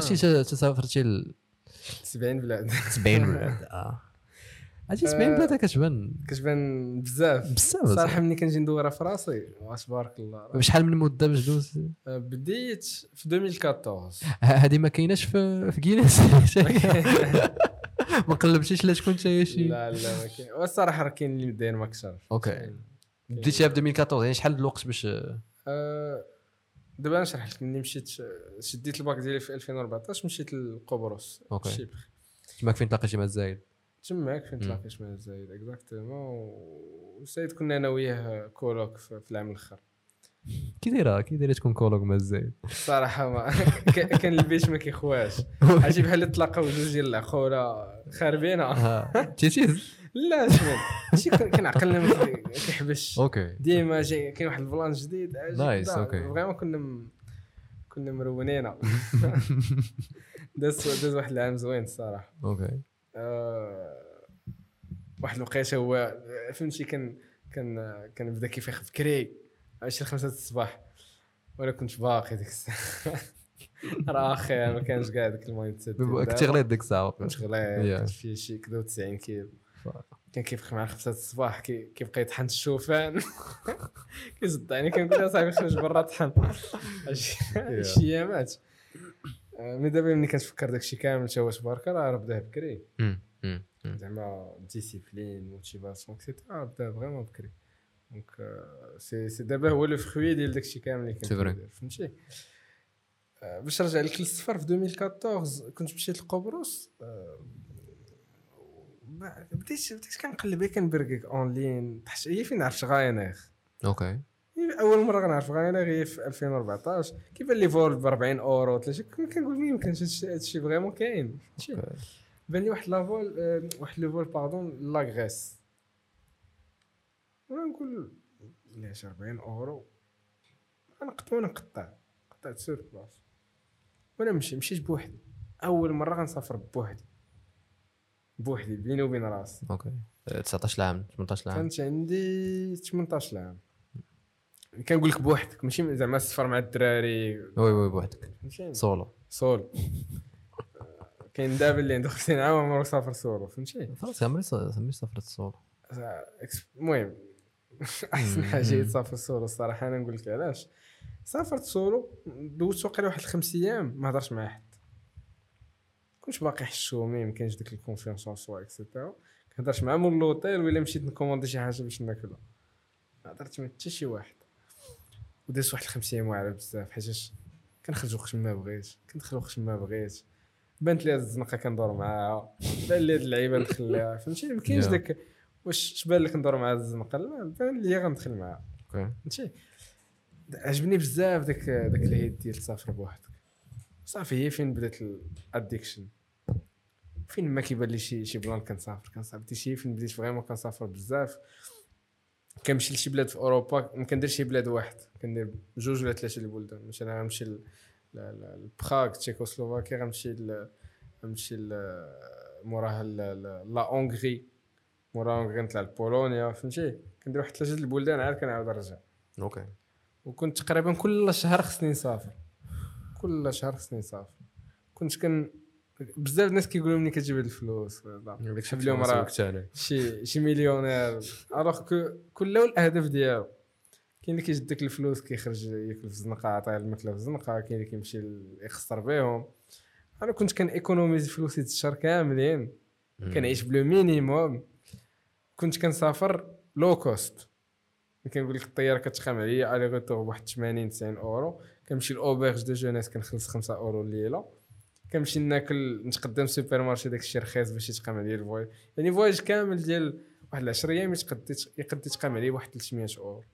درتي تسافرتي ل 70 بلاد 70 بلاد اه عرفتي 70 بلاد كتبان كتبان بزاف بزاف صراحه ملي كنجي ندورها في راسي واش تبارك الله راه. بشحال من مده باش دوز آه، بديت في 2014 ه- هذه ما كايناش في في كينيس ما قلبتيش لا شكون شي شي لا لا ما كاين والصراحه راه كاين اللي مدين ما كثر اوكي بديتيها في 2014 يعني شحال الوقت باش آه، دابا نشرح لك ملي مشيت شديت الباك ديالي في 2014 مشيت لقبرص أوكي. شيبر تماك فين تلاقيتي مع الزايد تماك فين مم. تلاقيت مع الزايد اكزاكتومون وسعيد كنا انا وياه كولوك في في العام الاخر كي دايره كي دايره تكون كولوج مع الزايد الصراحه ما ك- كان البيت ما كيخواش عرفتي بحال اللي تلاقاو جوج ديال العقوله خاربينها آه. تيتيز لا شمن شي كن- كنعقلنا ما كيحبش اوكي ديما جاي كاين واحد البلان جديد آه، جديد. نايس، لا، أوكي. فريمون كنا م... كنا مرونين داز داز واحد العام زوين الصراحه اوكي آه، واحد الوقيته هو آه، فهمتي كان كان آه، كنبدا كيفيق بكري على شي خمسة الصباح وانا كنت باقي ديك الساعه راه اخي ما كانش كاع ديك المايند سيت ديال كنتي دابا. غليظ ديك الساعه كنت غليظ Yeah. كنت في شي كذا 90 كيلو فا- كان كيفيق مع خمسة الصباح كي- كيبقى يطحن الشوفان كيزد يعني كنقول يا صاحبي خرج برا طحن شي ايامات آه، مي دابا ملي كتفكر داكشي كامل تا هو تبارك الله راه بداه بكري مم، مم، مم. زعما ديسيبلين موتيفاسيون اكسيتيرا بدا فريمون بكري دونك آه، سي سي دابا هو لو فخوي ديال داكشي كامل اللي سي كنت فري. ندير، فهمتي آه، باش نرجع لك للصفر في 2014 كنت مشيت لقبرص آه، ما- بديت بديت كنقلب غير كنبركك اون لين تحت هي فين عرفت غاينيغ اوكي هي اول مره كنعرف غاينيغ هي في 2014 كيف اللي فول ب 40 اورو 30 كنت كنقول ما يمكنش هادشي- هادشي فريمون كاين فهمتي بان لي واحد لافول آه، واحد لوفول باردون لا غريس وانا نقول علاش 40 اورو انا قط وانا نقطع قطعت سير بلاص وانا مشي مشيت بوحدي اول مره غنسافر بوحدي بوحدي بيني وبين راسي اوكي آه، 19 عام 18 عام كانت عندي 18 عام كنقول لك بوحدك ماشي زعما السفر مع الدراري وي وي بوحدك فهمتيني؟ سولو سول آه، كاين دابا اللي عنده 50 عام عمره سافر سولو فهمتي خلاص عمري ص- عمري سافرت سولو إكس- المهم احسن حاجه هي تسافر سولو الصراحه انا نقول لك علاش سافرت سولو دوزت واقيلا واحد خمس ايام ما هضرش مع حد كنت باقي حشومي ما كانش ديك الكونفيونس اون سوا اكسيتيرا ما كنهضرش مع مول لوطيل ولا مشيت نكوموندي شي حاجه باش ناكلها ما هضرت مع حتى شي واحد ودازت واحد الخمس ايام واعره بزاف حيتاش كنخرج وقت ما بغيت كندخل وقت ما بغيت بانت لي هاد الزنقه كندور معاها بان لي هاد اللعيبه نخليها فهمتي ما كاينش Yeah. داك واش بان لك ندور مع هاد الزنقه لا بان لي غندخل معاها اوكي فهمتي عجبني بزاف داك داك الهيد ديال تسافر بوحدك صافي هي فين بدات الاديكشن فين ما كيبان لي شي شي بلان كنسافر كنسافر دي شي فين بديت فريمون كنسافر بزاف كنمشي لشي بلاد في اوروبا ما كندير شي بلاد واحد كندير جوج ولا ثلاثه البلدان مثلا غنمشي ل- ل- ل- لبراغ تشيكوسلوفاكيا غنمشي ل- غنمشي ل- موراها ل- ل- لا اونغري موراها هونغري نطلع لبولونيا فهمتي كندير واحد ثلاثه البلدان عاد كنعاود نرجع اوكي وكنت تقريبا كل شهر خصني نسافر كل شهر خصني نسافر كنت كن بزاف الناس كيقولوا مني كتجيب هاد الفلوس ولا داك شحال اليوم راه شي شي مليونير الوغ كو كل له الاهداف ديالو كاين اللي كيجد ديك الفلوس كيخرج ياكل في الزنقه عطيه الماكله في الزنقه كاين اللي كيمشي يخسر بيهم انا كنت كان ايكونوميز فلوسي هاد الشهر كاملين كنعيش بلو مينيموم كنت كنسافر لو كوست كنقول لك الطياره كتخام عليا الي غوتور بواحد 80 90 اورو كنمشي لاوبرج دو جونيس كنخلص 5 اورو الليله كنمشي ناكل نتقدم سوبر مارشي داكشي رخيص باش يتقام عليا الفواياج يعني فواياج كامل ديال واحد 10 ايام يتقد يتقد يتقام عليا واحد 300 اورو